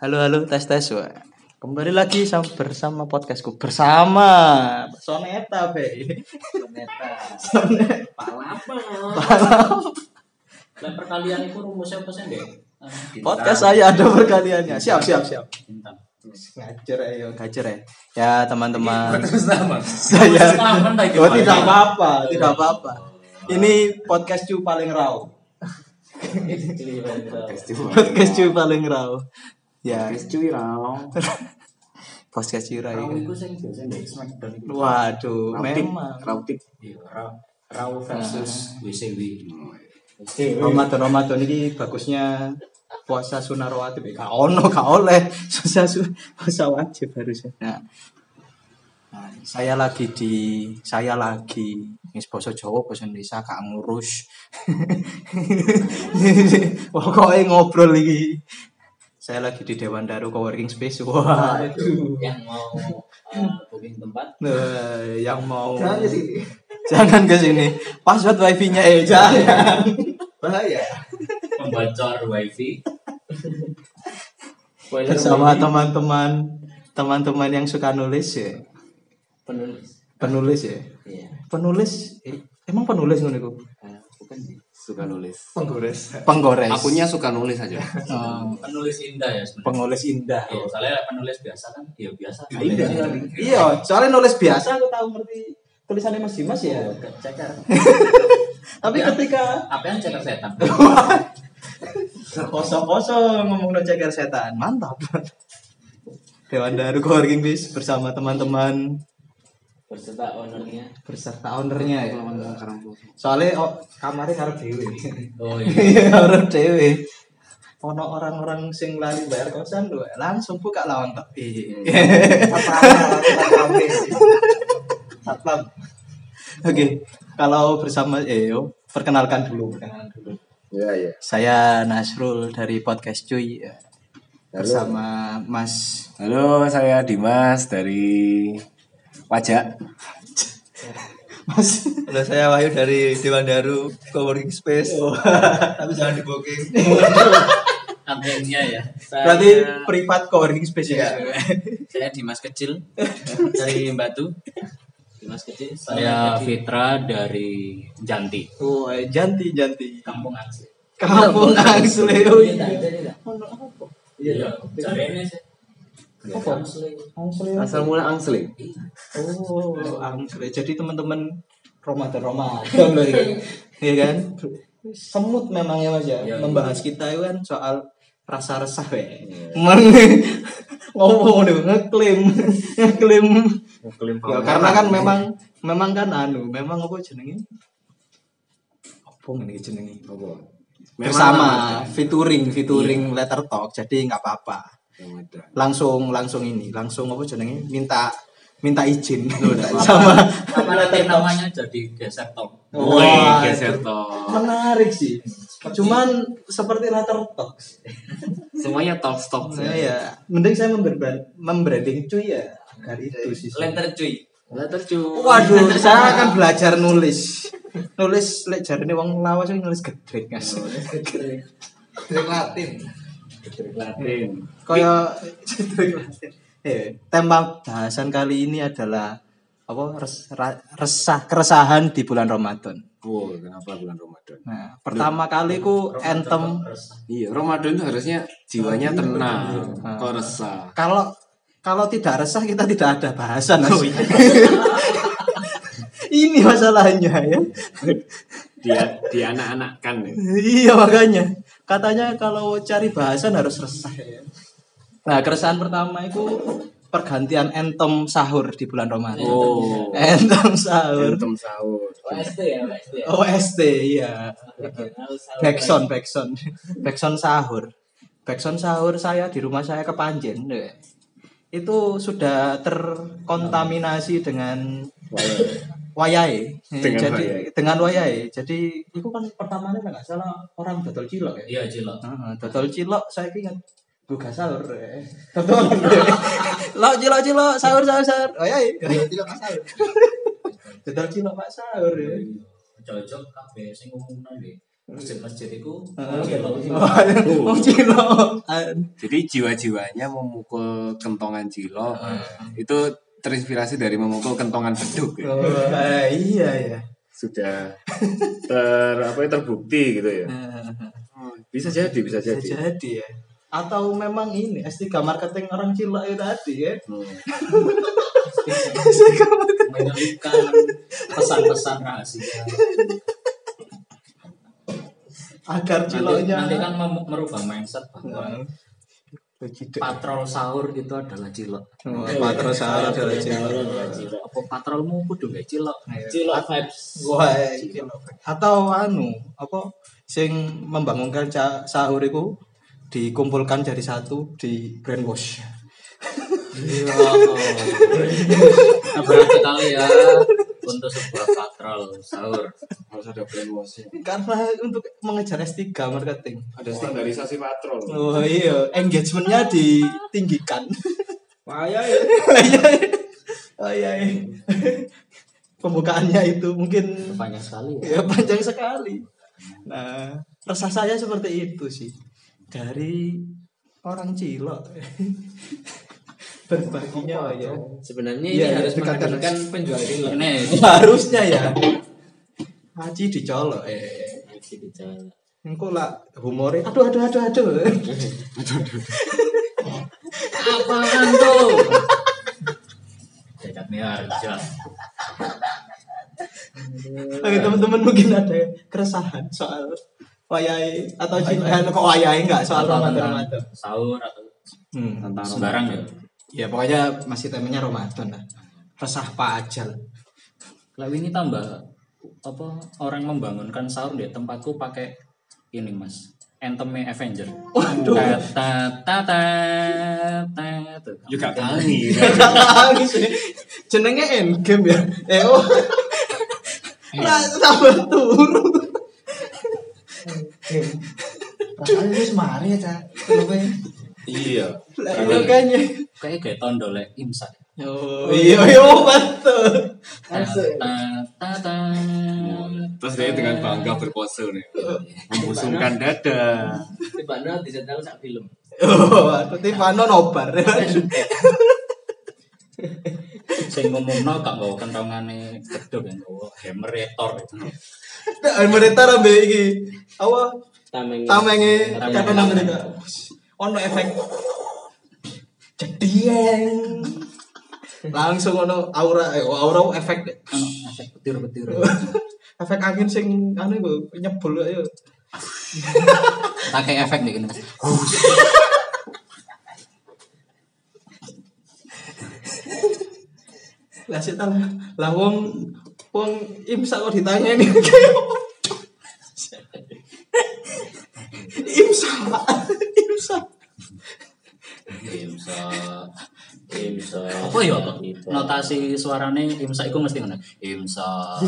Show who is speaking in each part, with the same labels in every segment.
Speaker 1: Halo halo tes tes Wah. Kembali lagi sama, bersama podcastku bersama Soneta be.
Speaker 2: Ternyata
Speaker 1: Soneta.
Speaker 2: Pak Lapa. Dan perkalian itu rumusnya apa sih Ah, deh?
Speaker 1: Podcast saya ada perkaliannya. Siap siap siap.
Speaker 2: Bintang.
Speaker 1: Ngajar ayo ngajar ya. Ya teman-teman
Speaker 3: Terus nama.
Speaker 1: saya.
Speaker 2: Selamat lagi.
Speaker 1: Oh, tidak apa-apa tidak apa-apa. Ini podcast cu paling raw. Podcast cu paling raw. Ya podcast cu raw.
Speaker 3: Raw itu sing biasa di Smackdown itu.
Speaker 1: Waduh
Speaker 3: Rautik.
Speaker 1: memang.
Speaker 3: Rautik.
Speaker 2: Iya, Raw- Raw versus WCW.
Speaker 1: Ramadan Ramadan ini bagusnya puasa sunnah rawatib ya. Gak ono gak oleh puasa su- puasa wajib harusnya. Nah, nah, saya lagi di saya lagi wis basa Jawa basa Indonesia gak ngurus. Pokoknya ngobrol lagi. Saya lagi di Dewan Daru Coworking Space. Waduh.
Speaker 2: Yang mau eh, booking tempat
Speaker 1: Nah, yang mau jangan ke sini. Password wifi-nya eh jangan. Bahaya.
Speaker 2: membocor wifi. Spoiler
Speaker 1: bersama
Speaker 2: wifi,
Speaker 1: teman-teman teman-teman yang suka nulis ya
Speaker 2: penulis.
Speaker 1: penulis ya
Speaker 2: Iya.
Speaker 1: penulis eh, emang penulis ngono iku
Speaker 3: Eh, Bukan sih. Suka nulis.
Speaker 1: penggores penggores
Speaker 3: Akunya suka nulis aja.
Speaker 1: Oh,
Speaker 2: Penulis indah ya sebenarnya.
Speaker 1: pengulis indah
Speaker 2: Iya, soalnya penulis biasa kan, ya biasa.
Speaker 3: Indah.
Speaker 1: iya soalnya nulis biasa aku tahu ngerti tulisannya mas Dimas ya
Speaker 2: Ceker.
Speaker 1: tapi ketika
Speaker 2: Apa yang ceker setan?
Speaker 1: kosong-kosong ngomong ceker setan mantap Dewan Daru Coworking Space bersama teman-teman
Speaker 2: Berserta ownernya.
Speaker 1: berserta ownernya ya soalnya oh, kamarnya karep dewe
Speaker 2: Oh iya.
Speaker 1: Iya, orang dewe. Ono orang-orang sing lali bayar kosan lho, langsung buka lawan tok. Satpam. Oke, kalau bersama Eo, perkenalkan dulu. Perkenalkan dulu.
Speaker 4: Ya
Speaker 1: iya.
Speaker 4: ya.
Speaker 1: Saya Nasrul dari podcast Cuy eh, bersama Mas
Speaker 4: Halo, saya Dimas dari Pajak.
Speaker 1: Mas
Speaker 5: Halo, saya Wahyu dari Dewan Daru Coworking Space.
Speaker 1: Oh.
Speaker 5: Tapi jangan di booking.
Speaker 2: Adminnya ya. Saya,
Speaker 1: berarti privat co-working space ya.
Speaker 2: saya Dimas kecil dari Batu. Dimas kecil. Saya Fitra dari Janti.
Speaker 1: Wah, Oh, eh, janti janti.
Speaker 2: Kampung Aksi.
Speaker 1: Kampung Angsle. oh iya.
Speaker 2: Iya. Cari ini Oh, sih. Kampung Angsle.
Speaker 1: Angsle.
Speaker 3: Asal mula angsling.
Speaker 1: Oh, anggrek. Jadi teman-teman Ramadan Ramadan loh ya. Iya kan? Semut memang ya Mas ya.
Speaker 2: Iya, iya.
Speaker 1: Membahas kita itu kan soal rasa resah ya.
Speaker 2: Iya.
Speaker 1: Mene- ngomong deh ngeklaim ngeklaim Ya, karena kan memang memang kan anu memang apa jenenge apa ini jenenge bersama featuring featuring letter talk jadi nggak apa-apa langsung langsung ini langsung apa jenenge minta minta izin sama
Speaker 2: Apa nanti namanya jadi geser top?
Speaker 1: Wah,
Speaker 3: Woi, geser
Speaker 1: itu
Speaker 3: toh.
Speaker 1: menarik sih cuman seperti latar talks
Speaker 3: Semuanya top stop.
Speaker 1: saya ya mending saya membrand membranding cuy ya agar itu sih
Speaker 2: Lenter cuy.
Speaker 1: waduh saya akan belajar nulis nulis lek jarine wong lawas sing nulis gedrek guys
Speaker 3: Latin.
Speaker 1: kaya eh tema bahasan kali ini adalah apa res- ra- resah keresahan di bulan Ramadan
Speaker 3: Wow, kenapa bulan Ramadan?
Speaker 1: Nah, pertama kali ku entem
Speaker 3: Iya, Ramadan itu harusnya jiwanya tenang, kok resah.
Speaker 1: kalau kalau tidak resah kita tidak ada bahasan. Mas. Ini masalahnya ya.
Speaker 3: Dia dia anak-anak kan ya.
Speaker 1: iya makanya katanya kalau cari bahasan harus resah ya. Nah, keresahan pertama itu pergantian entem sahur di bulan Ramadan.
Speaker 3: Oh,
Speaker 1: Entem sahur.
Speaker 3: Entem sahur.
Speaker 2: OST ya, OST ya.
Speaker 1: OST iya.
Speaker 2: Original sound.
Speaker 1: Backson, backson, backson sahur, backson sahur saya di rumah saya ke Panjen, deh. itu sudah terkontaminasi dengan wayai,
Speaker 3: Dengan
Speaker 1: jadi
Speaker 3: wayai.
Speaker 1: dengan wayai, jadi itu kan pertamanya kalau nggak salah orang dodol cilok ya,
Speaker 2: Iya, Jilo.
Speaker 1: Heeh, dodol cilok saya ingat buka sahur, eh. dodol, lo cilok cilok sahur sahur sahur, wayai, dodol cilok pak sahur, ya.
Speaker 2: Cocok kabeh sing ngomong deh. masjid-masjid itu
Speaker 1: Heeh.
Speaker 2: Cilo.
Speaker 1: Oh, Cilo.
Speaker 4: Jadi jiwa-jiwanya memukul kentongan cilok itu terinspirasi dari memukul kentongan beduk ya.
Speaker 1: Oh, eh, iya ya.
Speaker 4: Sudah ter apa ya, terbukti gitu ya. Bisa jadi, bisa
Speaker 1: Bisa
Speaker 4: jadi.
Speaker 1: jadi ya. Atau memang ini S3 marketing orang Cilo itu tadi ya.
Speaker 4: Hmm.
Speaker 2: menyelipkan pesan-pesan rahasia
Speaker 1: Agar
Speaker 2: nanti,
Speaker 1: Cilonya
Speaker 2: nanti kan mem- merubah mindset bahwa
Speaker 1: Heeh. Bagi dek.
Speaker 2: patrol sahur itu adalah cilok
Speaker 1: Oh, Patro Sahara adalah Cilo.
Speaker 2: cilok apa patrolmu kudu gak cilok
Speaker 1: Iya.
Speaker 2: cilok vibes
Speaker 1: Wah, iki lho. atau anu apa sing membangunkan ca- sahur iku dikumpulkan jadi satu di brainwash
Speaker 2: Iya. Nah, berat sekali ya untuk sebuah patrol sahur.
Speaker 3: harus ada brainwashing
Speaker 1: karena untuk mengejar S3 marketing
Speaker 3: ada standarisasi patrol
Speaker 1: oh iya engagementnya ditinggikan
Speaker 5: Payah ya.
Speaker 1: oh iya iya. pembukaannya itu mungkin
Speaker 2: Banyak sekali ya.
Speaker 1: ya panjang sekali nah resah saya seperti itu sih dari orang cilok berbaginya ya
Speaker 2: Sebenarnya
Speaker 1: Iya,
Speaker 2: ini
Speaker 1: iya,
Speaker 2: harus
Speaker 1: dekatkan.
Speaker 2: menghadirkan penjual cilok. Nih,
Speaker 1: harusnya ya Haji dicolok eh engko lah humore aduh aduh aduh aduh
Speaker 2: Apaan tuh? Cedak nih harga.
Speaker 1: Oke, teman-teman mungkin ada keresahan soal wayai atau cinta kok wayai enggak soal Ramadan Ramadan
Speaker 2: Sahur atau
Speaker 1: hmm.
Speaker 2: sembarang ya.
Speaker 1: ya pokoknya masih temanya Ramadan lah resah pajal
Speaker 2: Lah ini tambah apa orang membangunkan sahur di tempatku pakai ini Mas. Anthemnya Avenger.
Speaker 1: Waduh.
Speaker 2: Ta ta ta ta ta. Tuh.
Speaker 4: Juga kali.
Speaker 1: lagi sih Gitu ya. jenenge endgame ya eh oh
Speaker 5: Iya.
Speaker 1: lah tambah turu
Speaker 5: Rasanya wis mari ya, Cak. Kenapa ya?
Speaker 3: iya
Speaker 1: lah kan- makanya
Speaker 2: Kayak kayak tondole imsak.
Speaker 1: oh iya iya betul
Speaker 2: Ta ta ta ta.
Speaker 4: Terus dia dengan bangga berpose nih. Membusungkan dada.
Speaker 2: Tiba-tiba dicetel sak film.
Speaker 1: Oh, tapi Pano nobar.
Speaker 2: Sing ngomongno gak nggawa kentongane gedhog yang nggawa hammer ya tor.
Speaker 1: Nah, mereka rambe iki. Apa
Speaker 2: Tamenge.
Speaker 1: tamenge
Speaker 2: Tamenge.
Speaker 1: kata nang mereka. Ono efek. Cedieng. Langsung ono aura eh aura efek
Speaker 2: Ono efek petir-petir.
Speaker 1: efek angin sing anu iku nyebul ayo.
Speaker 2: Pakai efek nih kene.
Speaker 1: Lah sik tang lah wong wong imsak kok ditanya ini. imsak imsak
Speaker 2: Imsak. Imsak. Apa ya kok? Notasi suarane imsak iku mesti ngono. Imsak.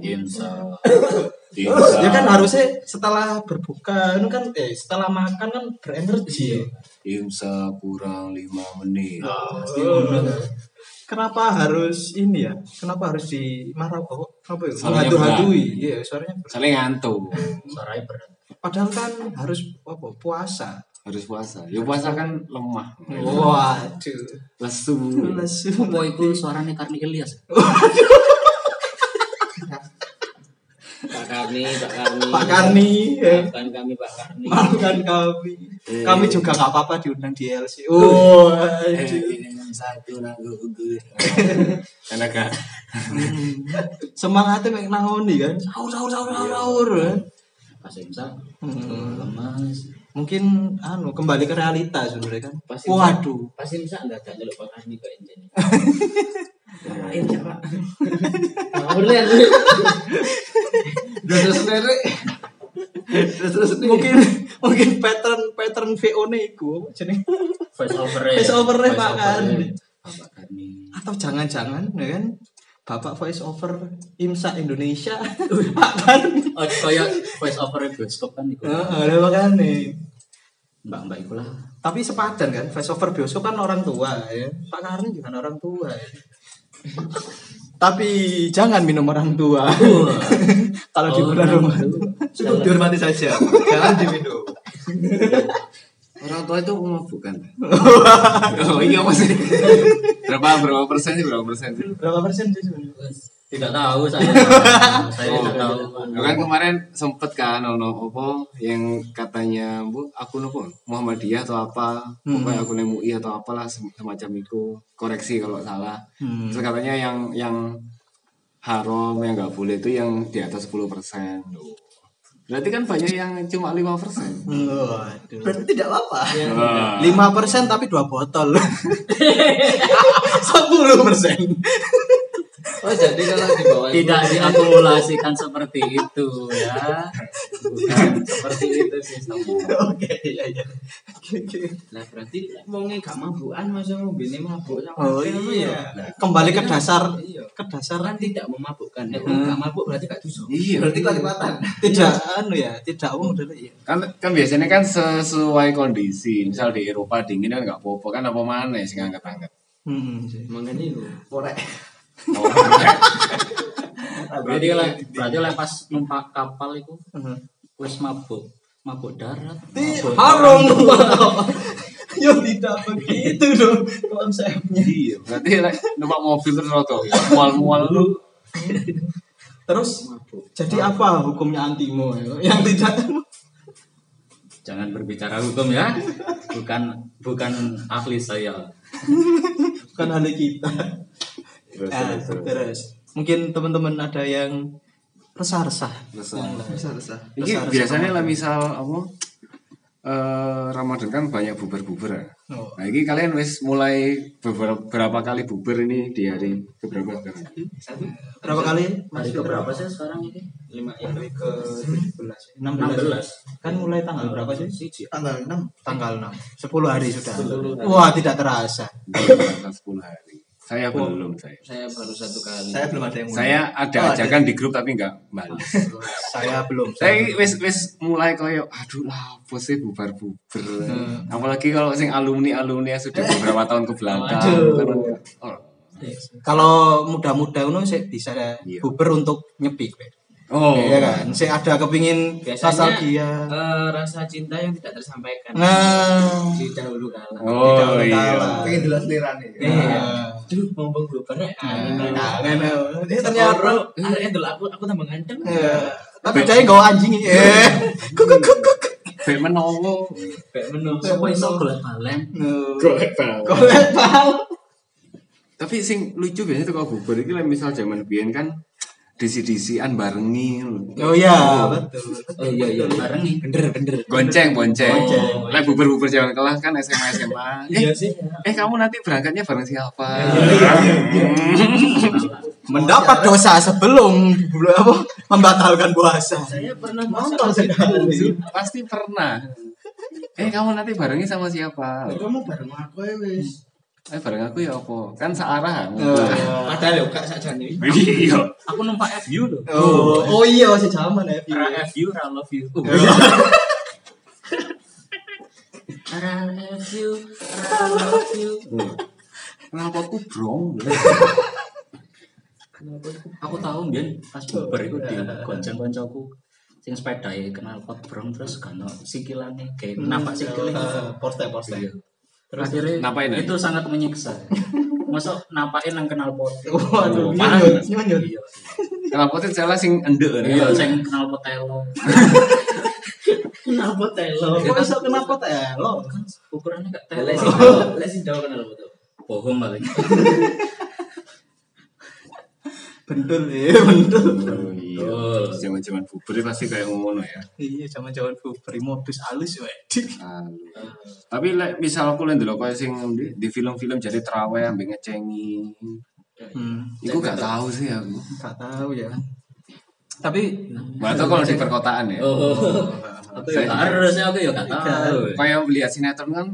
Speaker 2: Imsak.
Speaker 1: ya kan harusnya setelah berbuka itu kan eh setelah makan kan berenergi
Speaker 4: Imsa kurang 5 menit.
Speaker 1: kenapa harus ini ya kenapa harus di marah kok apa ya
Speaker 4: Suaranya
Speaker 1: menghadu-hadui iya suaranya berat.
Speaker 4: Soalnya ngantuk.
Speaker 2: Suaranya berat.
Speaker 1: padahal kan harus apa puasa
Speaker 4: Harus puasa. Ya puasa kan lemah.
Speaker 1: waduh
Speaker 4: Lesu.
Speaker 1: lesu
Speaker 2: Apa iku suarane Karni Ilyas?
Speaker 6: Pak Karni, Pak Karni.
Speaker 1: Pak Karni eh,
Speaker 6: Maafkan kami Pak Karni.
Speaker 1: maafkan kami kami juga nggak apa-apa diundang di LC oh
Speaker 2: Eh,
Speaker 4: Satu lagu gugur. Enak kan?
Speaker 1: semangatnya kayak nangoni kan sahur sahur sahur sahur, kan? sahur.
Speaker 2: Pas imsak
Speaker 1: Hmm.
Speaker 2: lemas.
Speaker 1: mungkin anu kembali ke realita sebenarnya kan
Speaker 6: Pasti
Speaker 1: waduh
Speaker 6: Pasti bisa enggak ada nyeluk Pak Karni Pak Injen.
Speaker 1: ya,
Speaker 2: ya,
Speaker 1: mungkin mungkin pattern pattern VO nya iku jadi
Speaker 2: Face over ya. Oh,
Speaker 1: voice over pak kan
Speaker 2: Pak Karni.
Speaker 1: atau jangan-jangan ya kan bapak voice over imsa Indonesia pak kan
Speaker 2: Oh, kayak voice over bioskop kan iku.
Speaker 1: ada makan nih
Speaker 2: Mbak-mbak iku lah.
Speaker 1: tapi sepadan kan voice over bioskop kan orang tua ya Pak Karni juga orang tua ya. Tapi jangan minum orang tua. Kalau di bulan rumah.
Speaker 7: Cukup dihormati saja. Oh, Jangan diminum.
Speaker 4: Orang tua itu bukan oh iya masih. Berapa berapa persen sih berapa persen sih?
Speaker 1: Berapa persen sih sebenarnya?
Speaker 2: Tidak tahu saya. saya tidak
Speaker 8: Oh.
Speaker 2: tahu.
Speaker 4: Nah, kan kemarin sempet kan ono opo yang katanya bu aku nopo Muhammadiyah atau apa pokoknya aku MUI atau apalah sem- semacam itu koreksi kalau salah terus katanya yang yang haram yang nggak boleh itu yang di atas 10% persen berarti kan banyak yang cuma 5% persen
Speaker 1: Waduh. Iya.
Speaker 7: Berarti tidak apa-apa.
Speaker 1: Lima persen tapi dua botol. Sepuluh persen.
Speaker 8: Oh jadi kalau di bawah
Speaker 2: Tidak diakumulasikan seperti itu ya. Bukan seperti itu sistemnya.
Speaker 1: Oke, iya iya. Oke, oke.
Speaker 8: Lah berarti wonge gak mabukan masa ngombene mabuk sama
Speaker 1: Oh
Speaker 8: kopi, apa ya?
Speaker 1: iya. Kembali ke dasar
Speaker 8: Iya.
Speaker 1: ke dasar
Speaker 8: Kan tidak memabukkan. Nek wong
Speaker 2: Hmm.
Speaker 8: gak mabuk berarti gak dosa.
Speaker 4: iya
Speaker 7: Berarti kelipatan.
Speaker 1: tidak anu ya, tidak umum dulu iya.
Speaker 4: kan kan biasanya kan sesuai kondisi misal di Eropa dingin kan nggak apa-apa kan apa mana sih nggak angkat
Speaker 1: Hmm. sih.
Speaker 8: Mangane lho.
Speaker 7: Korek.
Speaker 4: Oh, iya.
Speaker 2: Berarti le- berarti le pas numpak kapal itu
Speaker 1: Heeh.
Speaker 2: wis mabuk. Mabuk darat.
Speaker 1: Ti-
Speaker 8: Iya.
Speaker 2: mabuk-
Speaker 1: haram. Ya tidak begitu dong konsepnya.
Speaker 4: iya berarti like, numpak mobil terus roto mual-mual lu
Speaker 1: Terus jadi apa hukumnya antimo ya? yang tidak
Speaker 2: Jangan berbicara hukum ya. Bukan bukan ahli saya.
Speaker 1: bukan ahli kita.
Speaker 4: terus
Speaker 1: Nah,
Speaker 4: terus terus
Speaker 1: terus mungkin teman-teman ada yang resah-resah.
Speaker 4: Terus.
Speaker 7: Besar-besar.
Speaker 4: Ini
Speaker 1: Besar,
Speaker 4: biasanya lah misal apa eh Ramadan kan banyak bubar-bubar. ya.
Speaker 1: Oh.
Speaker 4: Nah, ini kalian wis mulai beberapa, berapa kali bubar ini di hari keberapa sekarang?
Speaker 1: Berapa kali?
Speaker 2: Hari keberapa sih sekarang ini?
Speaker 8: 5 ini ke 17.
Speaker 1: 16. Kan mulai tanggal berapa sih?
Speaker 7: Tanggal 6.
Speaker 1: tanggal 6 10 hari sudah wah tidak terasa
Speaker 4: Bulan 10 hari. Saya belum saya.
Speaker 8: Saya baru satu kali.
Speaker 7: Saya belum ada yang mulai.
Speaker 4: Saya ada ajakan di grup tapi nggak balas.
Speaker 1: saya belum
Speaker 4: saya ini wis wis mulai koyo aduh lah apa sih bubar-bubar.
Speaker 1: Hmm.
Speaker 4: Apalagi kalau sing alumni-alumni yang sudah beberapa tahun ke belakang. Oh,
Speaker 1: kalau muda-muda uno sih bisa
Speaker 4: Iya.
Speaker 1: buber untuk nyepik Pak.
Speaker 4: oh.
Speaker 1: Iya kan saya ada kepingin
Speaker 8: Biasanya
Speaker 1: nostalgia
Speaker 8: eh, rasa cinta yang tidak tersampaikan.
Speaker 1: nah
Speaker 8: Di dahulu kala.
Speaker 4: Oh,
Speaker 1: Tidak
Speaker 4: iya.
Speaker 1: berkala.
Speaker 7: Pengen jelas liran
Speaker 2: Eh,
Speaker 7: nih.
Speaker 1: Iya.
Speaker 8: Duh, ngomong gue pernah.
Speaker 1: Nah, kan, eh,
Speaker 7: Dia ternyata
Speaker 8: Ternyata, arek dulu aku aku tambah ganteng.
Speaker 1: iya. tapi saya gak anjing eh Kuk, kuk, kuk, kuk.
Speaker 4: Baik menowo.
Speaker 8: Kayak menurut
Speaker 2: Semua iso golek balen.
Speaker 4: Golek banget.
Speaker 1: Golek pal.
Speaker 4: Tapi sing lucu biasanya tuh kalau bubar itu lah misal zaman biyen kan disi-disian barengi lho.
Speaker 1: oh iya betul
Speaker 2: Oh iya iya bareng nih.
Speaker 4: Gonceng, bonceng. Lah bubar-bubar jalan kelas kan SMA SMA.
Speaker 1: Iya
Speaker 4: Eh, eh kamu nanti berangkatnya bareng siapa?
Speaker 1: iya.
Speaker 4: Hmm.
Speaker 1: mendapat dosa sebelum apa membatalkan puasa
Speaker 8: Saya pernah
Speaker 1: Mantap
Speaker 8: masa
Speaker 1: sekali.
Speaker 4: Itu Pasti pernah. Eh kamu nanti barengnya sama siapa?
Speaker 8: Kamu bareng aku ya wis.
Speaker 4: Eh bareng aku ya opo? Kan searah.
Speaker 1: Eh,
Speaker 8: Padahal yo gak sakjane.
Speaker 4: Iya.
Speaker 2: Aku numpak FU loh.
Speaker 1: oh, oh iya masih zaman ya Fi.
Speaker 2: Ra FU ra love you.
Speaker 1: Iya.
Speaker 2: Oh, Ra love you, ra love you.
Speaker 4: Kenapa aku brong?
Speaker 2: Aku tahu mbiyen pas bubar iku di gonceng koncoku sing sepedae kenal pot brong terus gano sikilane kayak
Speaker 1: Hmm.
Speaker 2: napak
Speaker 1: Iya.
Speaker 2: sikile.
Speaker 1: Poste poste.
Speaker 2: Iya. Terus akhirnya
Speaker 4: Napain ya?
Speaker 2: itu sangat menyiksa. Masuk napain nang kenal pot.
Speaker 1: Waduh,
Speaker 4: Panas.
Speaker 1: nyonyot, nyonyot.
Speaker 4: Kenapa tuh salah sing endek? kan?
Speaker 2: Iya, sing kenal pot telo. Kenal pot telo.
Speaker 1: Kok bisa kenapa teh lo?
Speaker 2: Iya. Ukurannya gak
Speaker 8: Lek
Speaker 2: telo.
Speaker 8: sing jauh, lek sing jauh kenal foto.
Speaker 2: Bohong paling.
Speaker 1: Bentul ya, bentul.
Speaker 4: Oh, iya. Zaman-zaman bubar itu pasti kayak ngono ya.
Speaker 1: Iya, zaman-zaman buberi modus halus we.
Speaker 4: Aduh. Tapi like, misal aku lihat dulu kayak sing di, di film-film jadi teraweh ambil ngecengi.
Speaker 1: Hmm,
Speaker 4: Iku gak tahu sih aku.
Speaker 1: enggak tahu ya. Tapi
Speaker 4: Gak tahu kalau di perkotaan ya.
Speaker 2: Oh, aku ya
Speaker 4: Saya-
Speaker 2: harus ya aku ya gak tahu.
Speaker 4: Kayak melihat sinetron kan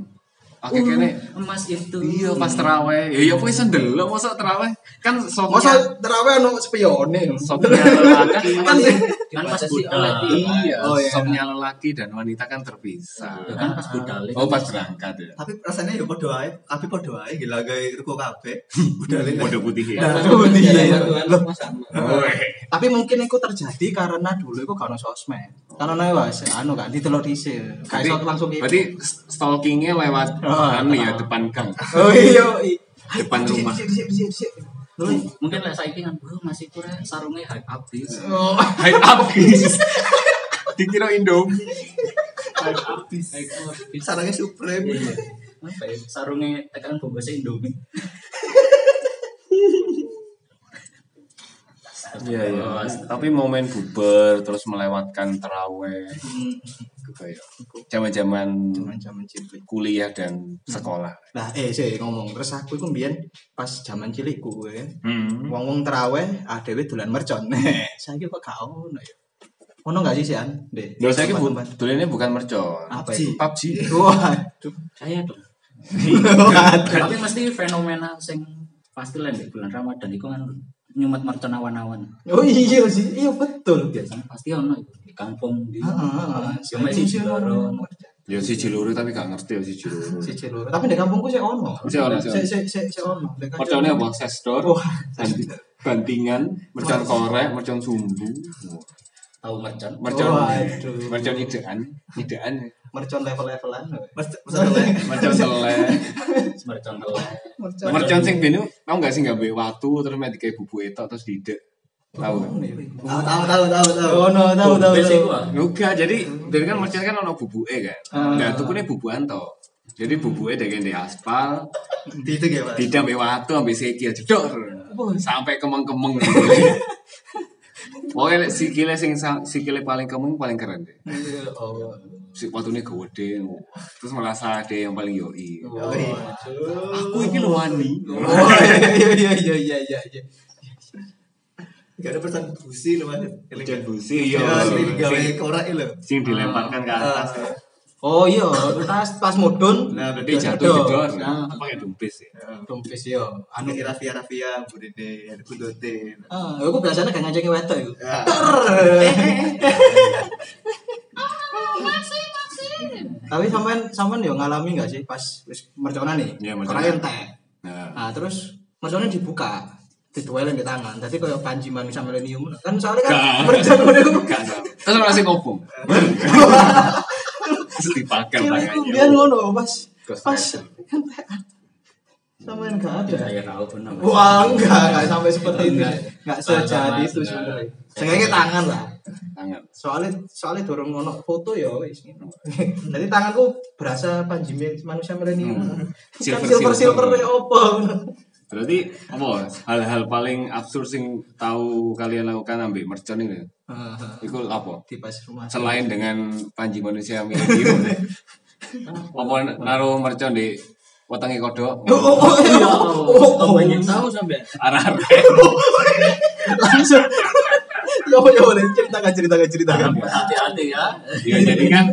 Speaker 3: Pakai kene.
Speaker 2: emas itu
Speaker 3: Iya pas teraweh. Ya ya wis ndelok mosok teraweh. Kan sopnya
Speaker 1: Masa terawih ono spione.
Speaker 3: sopnya lelaki
Speaker 2: kan kan pas
Speaker 6: Dibatasi
Speaker 2: budal
Speaker 6: oleh-
Speaker 3: iya,
Speaker 1: Oh, iya.
Speaker 3: sopnya lelaki dan wanita kan terpisah.
Speaker 2: Ya kan pas budal itu.
Speaker 3: Oh pas berangkat ya.
Speaker 5: Tapi rasanya ya podo ae, kabeh podo ae gila gawe ruko kabeh. Udah lek.
Speaker 4: Bodoh putih ya.
Speaker 5: Nah,
Speaker 6: Sama
Speaker 2: Oh,
Speaker 5: iya, iya.
Speaker 6: jalan
Speaker 2: ya.
Speaker 6: satuan
Speaker 5: Loh,
Speaker 6: sama sama.
Speaker 3: Oh, iya.
Speaker 1: Tapi mungkin itu terjadi karena dulu itu gak ono sosmed. Karena nih wes, anu kan ditelok dhisik. Gak iso langsung gitu.
Speaker 3: berarti stalkingnya lewat
Speaker 1: Oh,
Speaker 3: anu ya depan gang.
Speaker 1: Oh iya. iya.
Speaker 3: Depan
Speaker 1: Dhisik,
Speaker 3: rumah.
Speaker 1: dhisik, dhisik, dhisik, dhisik. Dulu,
Speaker 2: Mungkin lah saiki kan "Wah, masih kurang sarungnya hype habis.
Speaker 1: oh,
Speaker 3: Hype abis. Dikira Indomie.
Speaker 2: Hype habis.
Speaker 5: Sarangnya Supreme.
Speaker 2: Iya. Apa ya? Sarungnya tekan bungkusnya Indomie.
Speaker 4: Iya iya. Tapi momen buber terus melewatkan teraweh. Gitu ya. Zaman-zaman
Speaker 1: Zaman-zaman cilik.
Speaker 4: kuliah dan sekolah.
Speaker 1: Nah, eh sih ngomong terus aku iku mbiyen pas zaman cilikku ya.
Speaker 4: Hmm.
Speaker 1: Wong-wong teraweh, ah dhewe dolan mercon. Saiki kok gak ono ya. Ono gak sih Sian? Dek.
Speaker 4: Loh, saya bu
Speaker 1: Tempat-tempat.
Speaker 4: tulisannya bukan mercon.
Speaker 1: Apa
Speaker 4: PUBG.
Speaker 1: ya?
Speaker 4: PUBG.
Speaker 1: Waduh.
Speaker 2: Saya dong.
Speaker 1: Waduh.
Speaker 2: Tapi mesti fenomena sing pasti lah di bulan Ramadan itu kan nyumet mercon awan-awan.
Speaker 1: Oh iya sih, iya betul.
Speaker 2: Biasanya pasti ono itu di kampung di.
Speaker 1: Heeh.
Speaker 2: Ya masih di lorong.
Speaker 4: Ya si Ciluru tapi gak ngerti ya si Ciluru.
Speaker 1: Siji loro. Tapi di kampungku sih ono.
Speaker 4: Sih ono, sih ono.
Speaker 1: Sih sih sih sih ono. Di kampung-
Speaker 4: Merconnya apa? Sesdor,
Speaker 1: Wah,
Speaker 4: banti- bantingan, mercon korek, mercon sumbu,
Speaker 2: Tahu mercon.
Speaker 4: mercon,
Speaker 1: Waduh.
Speaker 4: mercon idean, idean,
Speaker 1: mercon level-levelan.
Speaker 5: Mas mas lek.
Speaker 4: mercon selek,
Speaker 2: Mercon telur.
Speaker 4: mercon sing benu, tau gak sih gak be watu terus main kayak bubu etok terus didek, tau gak?
Speaker 1: Oh, iya.
Speaker 5: Tahu tahu tahu tahu tahu.
Speaker 4: Oh,
Speaker 1: Ono, tahu tahu.
Speaker 2: Bes
Speaker 1: tahu.
Speaker 2: iku, ah.
Speaker 4: Enggak, jadi dari kan mercon kan ono bubuke kan.
Speaker 1: Ah.
Speaker 4: Nah, tukune bubuan to. Jadi bubuke dek di aspal,
Speaker 5: Di itu ya, Mas.
Speaker 4: tidak mbek watu ambek sikil jedor. Sampai kemeng-kemeng. Pokoknya lek sikile sing sa- sikile paling kemeng paling keren deh.
Speaker 1: Oh.
Speaker 4: Si watune gede terus merasa ada yang paling yoi.
Speaker 1: Aku
Speaker 4: Oh, Aku iki lho wani.
Speaker 1: iya, Oh iya iya iya iya iya. iya.
Speaker 5: Gak ada pesan busi lho, Mas.
Speaker 4: Hujan busi
Speaker 1: Iya,
Speaker 4: yo.
Speaker 5: Ya, ini gawe korak lho.
Speaker 4: iya. Sing dilemparkan ke atas.
Speaker 5: Ah.
Speaker 1: Oh iya, pas pas mudun
Speaker 5: Nah,
Speaker 4: Berarti
Speaker 5: berarti
Speaker 4: jatuh kan? jedor.
Speaker 1: Nah. iya.
Speaker 4: Pakai dumpis ya.
Speaker 1: dompes yo.
Speaker 5: anu Rafia Rafia Burine Budote.
Speaker 1: Ah, aku biasanya gak ngajakin wedok ya? iku.
Speaker 4: Ya.
Speaker 5: Ah.
Speaker 1: Tapi sampean sampean yo ngalami gak sih pas wis merconan nih?
Speaker 4: Iya, merconan.
Speaker 1: Korai entek.
Speaker 4: Nah.
Speaker 1: Nah, terus merconnya dibuka dituelin di tangan. Tadi kayak panji manusia milenium kan soalnya kan
Speaker 4: Gak.
Speaker 1: mercon ngono iku.
Speaker 4: Gak tau. Terus orang sing ngobong. Terus dipakar
Speaker 1: Kira iku biyen
Speaker 4: tangannya.
Speaker 1: ngono pas
Speaker 4: Ghost
Speaker 1: pas
Speaker 4: rider.
Speaker 1: entekan. Sampean gak ada.
Speaker 2: Saya tahu benar.
Speaker 1: Wah, enggak, enggak sampai seperti itu.
Speaker 2: Enggak.
Speaker 1: Enggak sejadi
Speaker 2: Enggak,
Speaker 1: itu
Speaker 2: enggak.
Speaker 1: sebenarnya. Seenggaknya tangan lah.
Speaker 4: Tangan.
Speaker 1: Soalnya soalnya dorong ono foto ya wis ngono. Jadi tanganku berasa panjime manusia milenium.
Speaker 4: Hmm.
Speaker 1: Kan
Speaker 4: Silver-
Speaker 1: silver silver
Speaker 4: silver.
Speaker 1: ya opo.
Speaker 4: Berarti apa hal-hal paling absurd sing tahu kalian lakukan ambil mercon ini? Iku apa?
Speaker 1: Di pas rumah.
Speaker 4: Selain dengan panji manusia milenium. apa naruh mercon di watangi kodok?
Speaker 1: Oh, oh, oh, iya. oh, oh, oh.
Speaker 6: Banyak tahu sampai.
Speaker 4: Arah
Speaker 1: langsung. Yo yo, ceritakan ceritakan ceritakan.
Speaker 2: Iya.
Speaker 6: Hati-hati ya.
Speaker 4: Ya jadi kan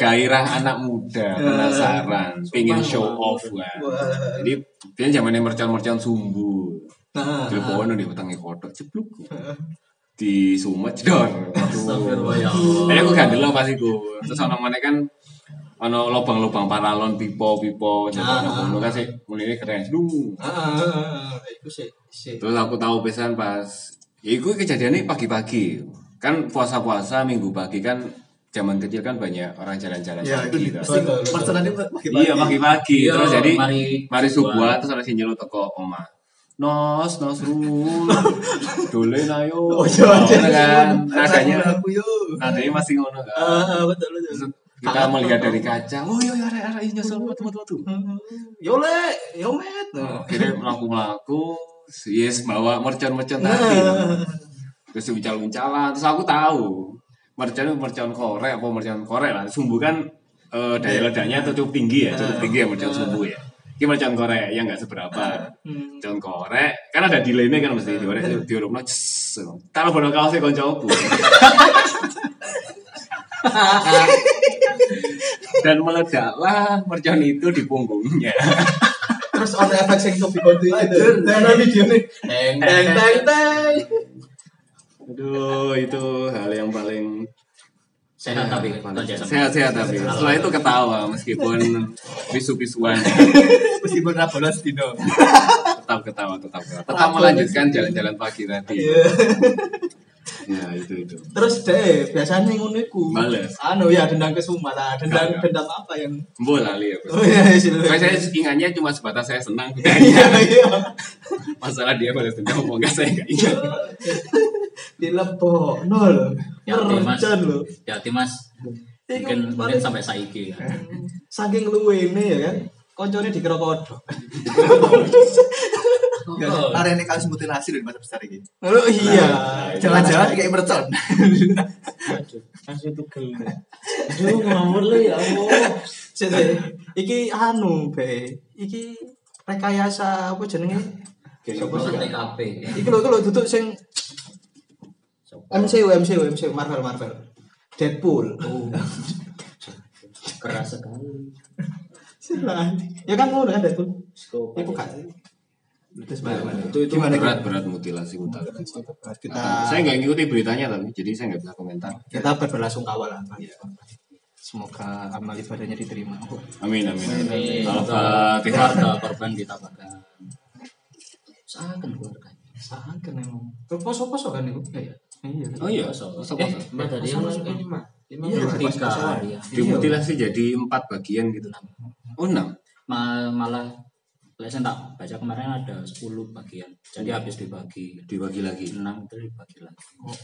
Speaker 4: gairah anak muda penasaran, pingin show off kan.
Speaker 1: Wah.
Speaker 4: Jadi dia zamannya mercon-mercon sumbu.
Speaker 1: Nah,
Speaker 4: Teleponan di watangi kodok cepluk. Di Sumet dor. Aduh. Tapi aku gandel pas iku. Terus ana meneh kan ana lubang-lubang paralon
Speaker 1: Ah,
Speaker 4: pipa-pipa jalan
Speaker 1: ah,
Speaker 4: ngono kan sih mulai keren. Duh.
Speaker 1: ah, ah, ah, itu sih sih.
Speaker 4: Terus aku tahu pesan pas ya iku kejadiannya pagi-pagi. Kan puasa-puasa minggu pagi kan zaman kecil kan banyak orang jalan-jalan
Speaker 1: Iya,
Speaker 5: Ya,
Speaker 4: pagi
Speaker 5: itu
Speaker 4: kan.
Speaker 5: pasti
Speaker 1: Betul, betul.
Speaker 5: personalnya makin
Speaker 4: Iya pagi-pagi.
Speaker 2: Iya,
Speaker 4: Terus jadi
Speaker 2: mari-
Speaker 4: mari subuhan terus ada sing nyeluk teko omah. Nos, nos rul. Dolen ayo.
Speaker 1: Oh, iya, iya.
Speaker 4: Ngono kan. Nadanya
Speaker 5: aku yo.
Speaker 4: nadanya masih ngono kan.
Speaker 1: Ah, ah, betul betul.
Speaker 4: Terus kita melihat dari kaca, oh iya iya arek arek ini nyusul metu metu metu.
Speaker 1: Yo le, yo met.
Speaker 4: Nah, Akhirnya melaku melaku, yes bawa mercon mercon tadi.
Speaker 1: Ah.
Speaker 4: Terus bicara bicara, terus aku tahu mercon itu mercon korek apa mercon korek lah. Sumbu kan eh, daya ledaknya tuh cukup tinggi ya, cukup tinggi ya mercon sumbu ya. Ini mercon korek yang nggak seberapa. Mercon korek, kan ada delay-nya kan mesti diorek diorek no. Kalau bodoh kaosnya koncoku. dan meledaklah mercon itu di punggungnya.
Speaker 1: Terus on efek sing kopi kopi itu. Nah video nih.
Speaker 2: Eh,
Speaker 1: Teng teng teng teng.
Speaker 4: Aduh, itu hal yang paling
Speaker 2: Sehat tapi kerja sama.
Speaker 4: sehat-sehat tapi setelah itu ketawa meskipun pisu-pisuan
Speaker 5: Meskipun rabolos dino.
Speaker 4: tetap ketawa tetap ketawa. Tetap melanjutkan jalan-jalan pagi tadi.
Speaker 1: Iya.
Speaker 4: Nah, itu itu.
Speaker 1: Terus deh biasanya ngono iku.
Speaker 4: Males.
Speaker 1: Anu ya dendam ke Suma lah. Dendam
Speaker 4: Enggak,
Speaker 1: dendam apa yang
Speaker 4: Mbok lali aku.
Speaker 1: Oh iya sih.
Speaker 4: Tapi saya ingatnya cuma sebatas saya senang.
Speaker 1: Iya iya.
Speaker 4: Masalah dia balas dendam apa enggak saya enggak ingat.
Speaker 1: Dilebok nol.
Speaker 2: Hati-hati, Mas.
Speaker 1: Rencen lho.
Speaker 2: Hati-hati, Mas. Mungkin
Speaker 1: Iku
Speaker 2: mungkin
Speaker 1: paling-
Speaker 2: sampai saiki kan.
Speaker 1: saking luwene ya kan. Koncone dikira kodok.
Speaker 2: Oh,
Speaker 5: Hari ini kalian sebutin hasil dari masa besar ini.
Speaker 1: Oh iya.
Speaker 5: Jalan-jalan kayak mercon.
Speaker 6: Masih tugel. Aduh, ngawur lu ya Allah.
Speaker 1: Sik, sik. Iki anu be. Iki rekayasa apa jenenge? Sopo sih?
Speaker 2: Sampai TKP.
Speaker 1: Iki lho iki lho duduk sing MCU MCU MCU Marvel Marvel. Deadpool.
Speaker 2: Keras sekali.
Speaker 1: Silah. Ya kan ngono kan Deadpool.
Speaker 2: Skop.
Speaker 1: Iku kan. Terus bagaimana?
Speaker 4: Itu itu berat berat mutilasi mutilasi.
Speaker 1: Nah, Kita
Speaker 4: saya nggak ngikuti beritanya tapi jadi saya nggak bisa komentar.
Speaker 1: kita berbelasung kawal lah. Iya. Semoga amal ibadahnya diterima.
Speaker 4: Amin amin.
Speaker 2: Ini
Speaker 4: amin. Al-Fatihah.
Speaker 2: keluarga korban ditabarkan. Usahakan keluarganya.
Speaker 1: Sangat kan emang. Poso-poso kan itu. Iya. Iya.
Speaker 4: Oh iya.
Speaker 2: Poso.
Speaker 4: Poso-poso.
Speaker 2: Eh, Mbak tadi yang masuk ini.
Speaker 6: Lima
Speaker 1: Iya, Mas.
Speaker 6: belas.
Speaker 2: Tiga hari ya.
Speaker 4: Dimutilasi jadi empat bagian gitu. Iya. Oh enam.
Speaker 2: Ma- malah lesen tak baca kemarin ada 10 bagian jadi habis dibagi
Speaker 4: Dibagi lagi.
Speaker 2: 6 itu dibagi lagi
Speaker 6: Oh.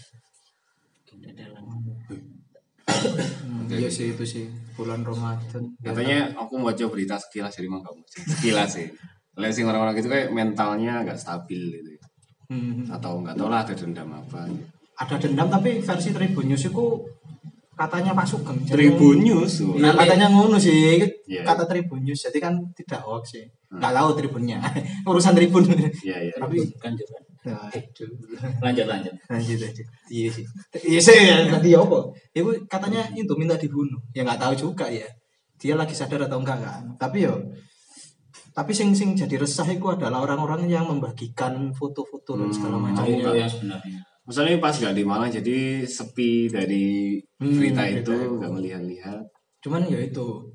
Speaker 1: Iya sih itu sih bulan Ramadan.
Speaker 4: Iya, Katanya aku baca berita sekilas dari Mang Kamu. Sekilas sih. Lihat sih orang-orang gitu kayak mentalnya nggak stabil gitu.
Speaker 1: Hmm.
Speaker 4: Atau nggak tahu lah ada dendam apa.
Speaker 1: Ada dendam tapi versi Tribun News itu katanya Pak Sugeng. Jadi-
Speaker 4: Tribun News. oh.
Speaker 1: Iya, katanya ngono sih
Speaker 4: Iya.
Speaker 1: kata Tribun News. Jadi kan tidak hoax sih. Enggak tahu Tribunnya. Urusan Tribun.
Speaker 4: Iya iya.
Speaker 1: tapi
Speaker 2: kan juga
Speaker 1: Nah, aduh.
Speaker 2: lanjut lanjut
Speaker 1: lanjut lanjut iya sih iya sih ya, tadi ya apa Iya. ibu katanya itu minta dibunuh ya nggak tahu juga ya dia lagi sadar atau enggak kan tapi yo tapi sing sing jadi resah itu adalah orang-orang yang membagikan foto-foto dan segala macam
Speaker 2: Nah, itu
Speaker 1: Iya.
Speaker 2: yang sebenarnya
Speaker 4: Misalnya pas nggak di Malang jadi sepi dari
Speaker 1: Hmm,
Speaker 4: berita
Speaker 1: berita
Speaker 4: itu
Speaker 1: itu.
Speaker 4: nggak melihat-lihat.
Speaker 1: cuman ya itu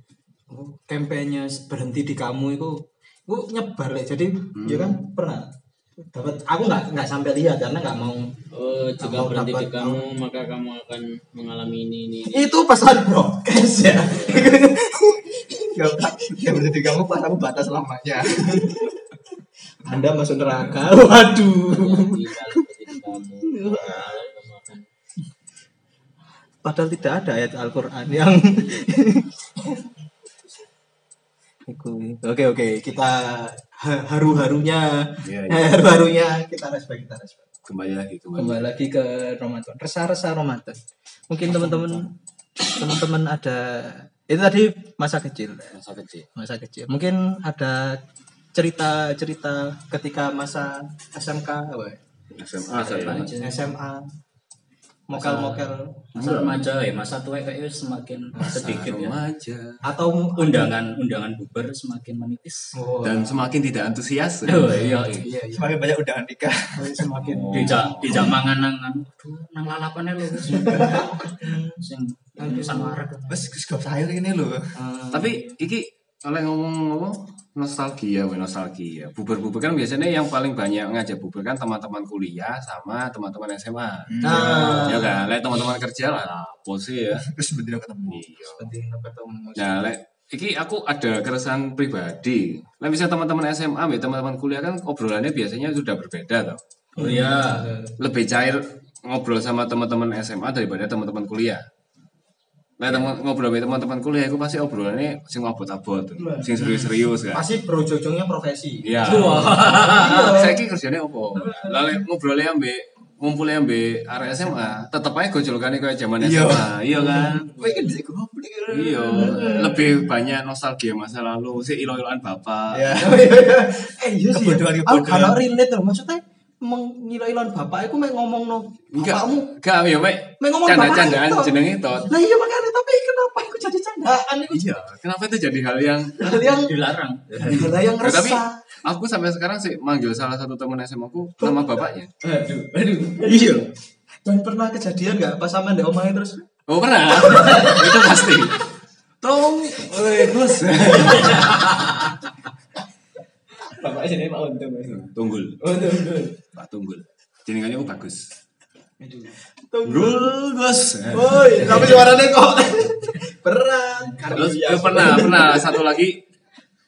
Speaker 1: oh, kampanye berhenti di kamu itu itu nyebar ya jadi ya kan
Speaker 6: Hmm.
Speaker 1: pernah dapat aku nggak nggak sampai lihat karena nggak mau
Speaker 6: Oh, jika
Speaker 1: Kamu
Speaker 6: berhenti
Speaker 1: dapat-
Speaker 6: di kamu, Oh, maka kamu akan mengalami ini, ini, ini.
Speaker 1: itu pesan broadcast ya
Speaker 5: Gampang. Ya berarti kamu pas kamu batas lamanya.
Speaker 1: anda masuk neraka waduh
Speaker 6: Jadi, kalau berhenti di kamu, kamu akan
Speaker 1: Padahal tidak ada ayat Al-Quran yang Iku- Oke oke kita ha- haru-harunya
Speaker 4: Iya,
Speaker 1: eh, haru-harunya kita respect kita respect
Speaker 4: Kembali lagi kembali.
Speaker 1: kembali lagi ke Ramadan resah-resah Ramadan mungkin teman-teman teman-teman ada itu tadi masa kecil
Speaker 4: Masa kecil.
Speaker 1: masa kecil mungkin ada cerita-cerita ketika masa SMK apa ya?
Speaker 4: SMA saya.
Speaker 2: Lanjut.
Speaker 1: Iya. SMA mokel-mokel
Speaker 2: masa remaja ya masa tua kayaknya semakin sedikit ya
Speaker 4: Remaja.
Speaker 1: atau
Speaker 2: undangan undangan bubar semakin menipis
Speaker 1: Oh,
Speaker 4: Dan semakin tidak antusias.
Speaker 2: oh iya iya.
Speaker 1: iya, iya.
Speaker 5: Semakin banyak undangan nikah.
Speaker 1: semakin
Speaker 2: dijak dijak mangan nang nang aduh, nang lalapannya lho wis. sing nang sangarep
Speaker 5: Mas Gus Gop sayur ini loh.
Speaker 4: Tapi iki oleh ngomong-ngomong nostalgia, weh, nostalgia. Buber-buber kan biasanya yang paling banyak ngajak buber kan teman-teman kuliah sama teman-teman SMA.
Speaker 1: nah
Speaker 4: Ya kan, lek teman-teman kerja lah, apa sih ya.
Speaker 5: Terus bener ketemu.
Speaker 4: Iya.
Speaker 1: penting ketemu
Speaker 4: Nah, lek iki aku ada keresahan pribadi. Lah bisa teman-teman SMA, weh, teman-teman kuliah kan obrolannya biasanya sudah berbeda toh.
Speaker 2: oh iya
Speaker 4: Lebih cair ngobrol sama teman-teman SMA daripada teman-teman kuliah. Lah
Speaker 2: Iya.
Speaker 4: teman ngobrol sama teman-teman kuliah itu pasti obrolannya sing abot-abot,
Speaker 2: Iya.
Speaker 4: sing serius-serius kan.
Speaker 1: pasti bro jojongnya profesi
Speaker 4: Iya. Saya ki kerjanya opo? Lalu ngobrolnya ambek ngumpulnya ambek arek SMA, tetep aja gojolkane kayak zaman
Speaker 5: Iya.
Speaker 4: SMA. Iya kan?
Speaker 5: Wah kan jadi gue
Speaker 4: Iya, lebih banyak nostalgia masa lalu, si ilo-iloan bapak.
Speaker 5: Ya.
Speaker 1: eh iya sih ya.
Speaker 5: Kebodohan,
Speaker 1: aku
Speaker 5: kebodohan.
Speaker 1: kalau relate loh maksudnya mengilai-ilon bapak iku mek ngomongno
Speaker 4: Enggak,
Speaker 1: bapakmu
Speaker 4: enggak ya, Mek.
Speaker 1: mek ngomong bapak
Speaker 4: Canda-candaan jenenge tot.
Speaker 1: Lah iya makanya tapi kenapa iku jadi candaan iku
Speaker 4: Iya, kenapa itu jadi hal yang
Speaker 1: hal yang
Speaker 2: dilarang
Speaker 1: hal yang
Speaker 4: Nah, tapi
Speaker 1: resah.
Speaker 4: aku sampai sekarang sih manggil salah satu temen SMA ku nama bapaknya.
Speaker 1: Aduh, aduh. Iya. Dan pernah kejadian nggak pas sama ndek omahe terus
Speaker 4: Oh, pernah. itu pasti.
Speaker 1: tong oleh terus
Speaker 5: Bapak sini Pak Untung.
Speaker 4: Tunggul,
Speaker 5: Untung. Untung.
Speaker 4: Pak Tunggul. Jenengannya ku bagus.
Speaker 1: tong.
Speaker 4: Tunggul, Gus.
Speaker 1: Woi, tapi suaranya kok perang.
Speaker 4: Terus eh, pernah, pernah satu lagi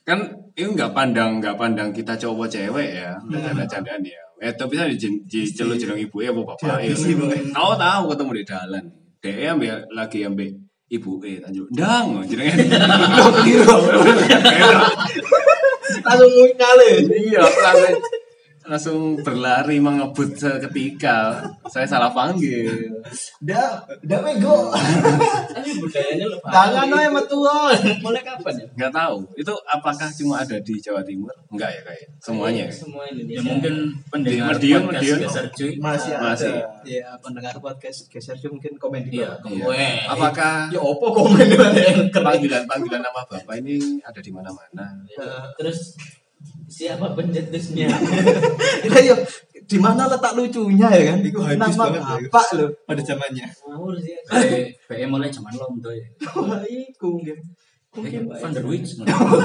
Speaker 4: kan itu nggak pandang nggak pandang kita cowok cewek ya canda candaan ya eh tapi saya diceluk jeneng ibu ya bu bapak ya
Speaker 1: Dihabisi, Pak.
Speaker 4: tahu tahu ketemu di dalan dia ambil lagi ambil ibu eh tanjuk dang jenengnya Lo kira.
Speaker 1: Langsung ngale.
Speaker 4: iya langsung langsung berlari mengebut seketika saya salah panggil
Speaker 1: Dah, dah mego.
Speaker 6: budayanya lebih
Speaker 1: Tangan ae metu. woy.
Speaker 6: mulai kapan ya
Speaker 4: nggak tahu itu apakah cuma ada di Jawa Timur enggak ya kayak semuanya ya?
Speaker 6: semua
Speaker 2: ya
Speaker 6: Indonesia
Speaker 2: mungkin pendengar
Speaker 4: Medium,
Speaker 2: podcast
Speaker 4: medium.
Speaker 2: geser cuy
Speaker 1: Masih ada.
Speaker 4: Masih.
Speaker 1: Ya, pendengar podcast geser Cuy, mungkin komen di
Speaker 2: iya
Speaker 1: bawah.
Speaker 4: Iya.
Speaker 2: weh.
Speaker 4: apakah
Speaker 1: Ya opo komen di bawah, ya.
Speaker 4: panggilan panggilan nama bapak ini ada di mana mana
Speaker 6: terus siapa pencetusnya
Speaker 1: Lah yo Iya, di mana letak lucunya ya kan?
Speaker 5: Iku hype
Speaker 1: Nama
Speaker 5: banget, ya.
Speaker 1: bapak lho.
Speaker 5: Pada zamannya.
Speaker 6: ngawur sih
Speaker 2: Be- be mulai zaman londo ya
Speaker 1: Wah, iku nggih.
Speaker 2: Eh,
Speaker 1: Mungkin
Speaker 2: Van der Wijk sebenarnya.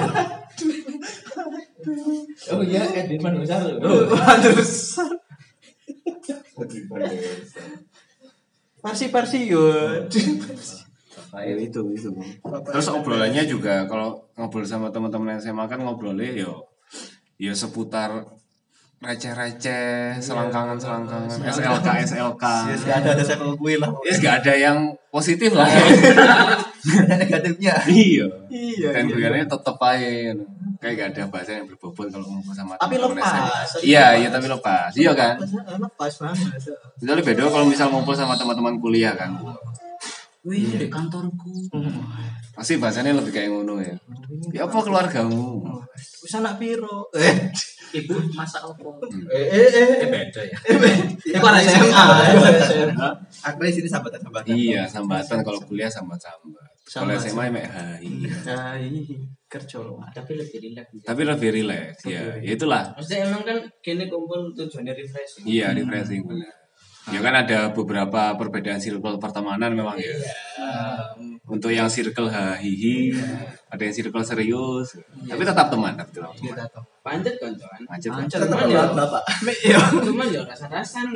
Speaker 6: oh iya Edwin Manusar
Speaker 1: Loh, terus Persi Persi yo.
Speaker 4: itu itu terus obrolannya juga kalau ngobrol sama teman-teman SMA kan ngobrolnya yo yo seputar
Speaker 1: Iya.
Speaker 4: receh-receh selangkangan-selangkangan SLK SLK
Speaker 5: Gak ada ada saya kuih lah.
Speaker 4: ya nggak ada yang positif lah
Speaker 5: Ada negatifnya.
Speaker 4: iya
Speaker 1: Iya.
Speaker 4: dan
Speaker 1: iya.
Speaker 4: guyannya tetep aja kayak gak ada bahasa yang berbobot kalau ngobrol sama
Speaker 1: Tapi
Speaker 4: teman-teman
Speaker 1: lepas.
Speaker 4: SMA. iya iya tapi lepas iya kan
Speaker 1: Lepas banget.
Speaker 4: itu lebih beda kalau misal ngumpul sama teman-teman kuliah kan
Speaker 2: Wih, di kantorku.
Speaker 4: pasti bahasanya lebih kayak ngono ya ya apa keluargamu
Speaker 1: Wis anak piro? Eh,
Speaker 2: Ibu masak opo?
Speaker 1: eh, eh, eh.
Speaker 2: Eh beda ya.
Speaker 1: Iku anak SMA. iku anak SMA.
Speaker 5: Akhirnya sini sambatan sambatan.
Speaker 4: Iya, sambatan kalau kuliah sambat-sambat. Kalau
Speaker 1: Sambat,
Speaker 4: SMA emang hai.
Speaker 1: Nah, ini kerja loh.
Speaker 6: tapi lebih rileks gitu.
Speaker 4: Tapi lebih rileks ya. Ya itulah.
Speaker 6: maksudnya emang kan kini kumpul tujuannya refreshing Ah.
Speaker 4: Iya, refreshing benar. Ya kan ada beberapa perbedaan circle pertemanan memang ya.
Speaker 6: Iya.
Speaker 4: Untuk yang circle hahihi, ada yang circle serius,
Speaker 6: Iya.
Speaker 4: tapi tetap teman, tapi tetap teman. kan?
Speaker 6: pancet koncoan
Speaker 4: Macet,
Speaker 1: Pancet.
Speaker 6: cuman
Speaker 1: Tetep
Speaker 6: ya
Speaker 1: lah,
Speaker 5: Bapak.
Speaker 6: cuman ya rasa-rasan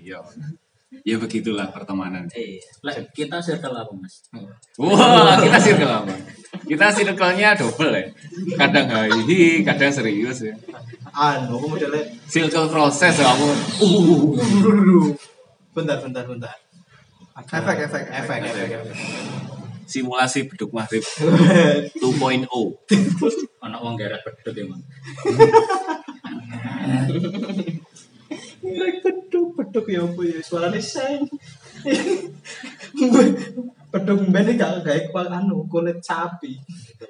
Speaker 4: Iya. Ya begitulah pertemanan.
Speaker 6: eh
Speaker 2: Lah, kita circle apa, Mas?
Speaker 4: Wah, kita circle apa? Kita circle-nya double ya. Kadang hahihi, kadang serius ya.
Speaker 1: Anu, aku modelnya.
Speaker 4: Circle proses ya, aku. Uh,
Speaker 1: Bentar, bentar, bentar.
Speaker 5: Efek efek
Speaker 1: Efek, efek, efek.
Speaker 4: simulasi beduk maghrib oh. 2.0
Speaker 2: Anak wong geret pedut ya, emang.
Speaker 1: Beduk, beduk ya apa ya? Suaranya seng. Gue beduk mbene gak gawe kual anu kulit sapi.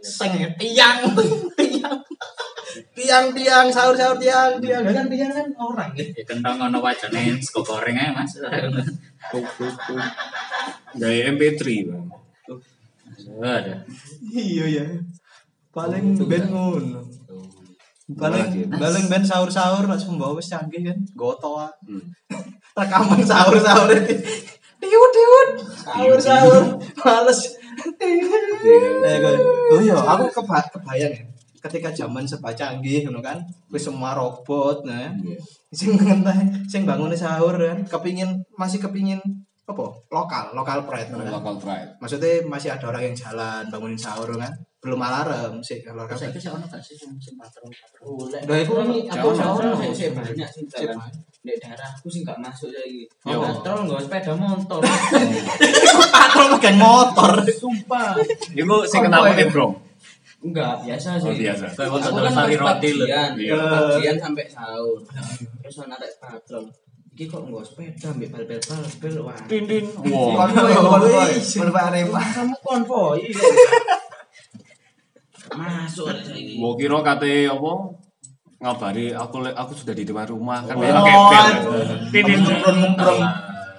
Speaker 1: Seng ya, tiang, tiang. Tiang, tiang, sahur, sahur, tiang, tiang. Lah Kan tiang kan orang ya.
Speaker 2: Ya kentang ono wajane sego goreng ae, Mas.
Speaker 4: dari MP3 bang
Speaker 2: Waduh.
Speaker 1: Iya ya. Paling ben ngono. Paling paling ben sahur-sahur langsung bawa wis canggih kan. Gotoa.
Speaker 4: Hmm.
Speaker 1: Rekaman sahur-sahur itu. Tiut tiut. Sahur-sahur. Males. Eh, kan. Oh iya, aku keba- kebayang ya. Ketika zaman serba canggih ngono kan, wis semua robot nah.
Speaker 4: Iya.
Speaker 1: Sing ngentah, sing bangunnya sahur kan, kepingin masih kepingin apa? Lokal, lokal pride. ngono kan.
Speaker 4: local pride
Speaker 1: maksudnya masih ada orang yang jalan bangunin sahur kan belum alarm sih kalau kan
Speaker 2: Terus iki sih ono gak sih sing sing patron-patron?
Speaker 1: Lah, iku ini
Speaker 6: aku
Speaker 4: Jawa.
Speaker 6: sahur
Speaker 1: Jawa.
Speaker 6: sih banyak sih
Speaker 1: Sip.
Speaker 6: jalan di daerahku sih nggak masuk lagi
Speaker 1: Ya
Speaker 4: Yo.
Speaker 6: patrol nggak sepeda motor
Speaker 1: patrol geng motor
Speaker 6: sumpah
Speaker 4: itu sing kenapa nih bro
Speaker 6: Enggak,
Speaker 1: Eh.
Speaker 6: biasa
Speaker 4: Oh,
Speaker 6: sih.
Speaker 4: biasa.
Speaker 6: Kayak
Speaker 2: Aku
Speaker 6: waktu
Speaker 2: kan
Speaker 6: sari
Speaker 2: harus
Speaker 6: roti
Speaker 2: pagian.
Speaker 4: Iya.
Speaker 6: Pagian sampai sahur. Terus ana rek patron. Iki kok nggo sepeda mbek bal-bal-bal wah.
Speaker 4: wow
Speaker 5: Konvoy konvoy. Konvoy Arema.
Speaker 6: Kamu konvoi. Masuk rek saiki.
Speaker 4: mau kira kate apa ngabari aku le- aku sudah di depan rumah kan ya.
Speaker 1: Oh,
Speaker 4: biasanya pakai bel.
Speaker 1: titin ngempron ngempron.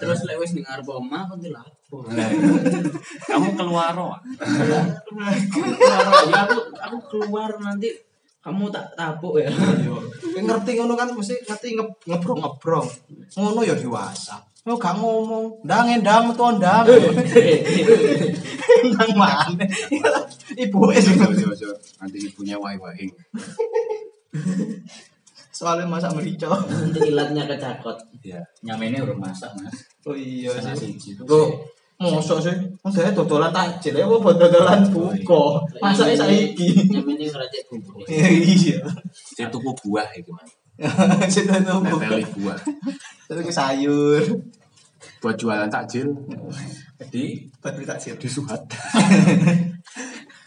Speaker 6: Terus lek wis dengar boma aku dilapo.
Speaker 4: Kamu keluar Wak.
Speaker 6: Ya aku aku keluar nanti kamu tak tabuk ya.
Speaker 1: Ya, ngerti ngono kan mesti ngerti nge ngebrong ngebrong. Ngono ya dewasa. Oh gak ngomong, ndang endang tuh ndang. Eh, Ndang mana? Ibu es
Speaker 4: Yo, yo, nanti ibunya wai waing
Speaker 1: soalnya masak merica.
Speaker 6: Nanti ilatnya kecakot.
Speaker 4: Iya.
Speaker 2: Nyamene urung masak, Mas.
Speaker 1: Oh iya
Speaker 2: Salah
Speaker 1: sih.
Speaker 2: siji.
Speaker 1: Kok mosok sih? Enggak dodolan takjil ya apa dodolan buka. Masake saiki.
Speaker 6: Nyamene ngerajek bumbu.
Speaker 1: Iya.
Speaker 4: saya tuku buah ya, itu mas
Speaker 1: Sudah nunggu.
Speaker 4: neteli buah
Speaker 1: Terus ke sayur.
Speaker 4: buat jualan takjil
Speaker 2: Di
Speaker 1: Buat beli takjil.
Speaker 4: di Suhat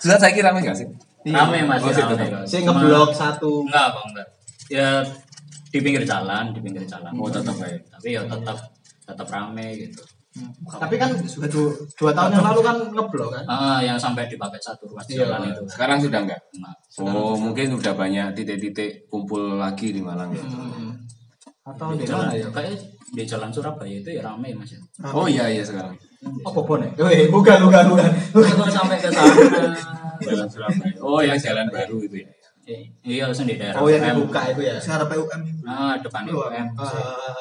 Speaker 4: Suhat saya kira rame gak sih
Speaker 1: Iya.
Speaker 2: rame Mas, ya,
Speaker 4: Oh, sih,
Speaker 2: rame.
Speaker 4: tetap.
Speaker 1: Saya
Speaker 2: Cuma-
Speaker 1: ngeblok satu.
Speaker 2: Enggak, Bang, enggak. Ya di pinggir jalan, di pinggir jalan.
Speaker 1: Hmm.
Speaker 4: oh tetap ya
Speaker 2: Tapi ya tetap tetap rame gitu.
Speaker 1: Tapi kan dua, dua tahun yang lalu kan ngeblok kan.
Speaker 2: Ah, yang sampai dipakai satu ruas
Speaker 1: Iya.
Speaker 2: jalan itu.
Speaker 4: sekarang sudah enggak
Speaker 2: Nah,
Speaker 4: oh mungkin sudah banyak titik-titik kumpul lagi di Malang ya
Speaker 1: Atau di
Speaker 2: jalan
Speaker 1: mana ya?
Speaker 2: kayak di jalan Surabaya itu ya rame Mas ya.
Speaker 4: oh iya iya sekarang
Speaker 1: Oh Bobon ya? Eh, bukan, bukan, bukan.
Speaker 2: Itu kok sampai ke sana.
Speaker 4: jalan Surabaya oh yang jalan baru itu ya
Speaker 2: Eh, Iya, sendiri daerah.
Speaker 1: Oh yang
Speaker 2: UM.
Speaker 1: dibuka itu ya?
Speaker 5: Sekarang PUM itu.
Speaker 2: Ah, depan UM.
Speaker 1: Eh,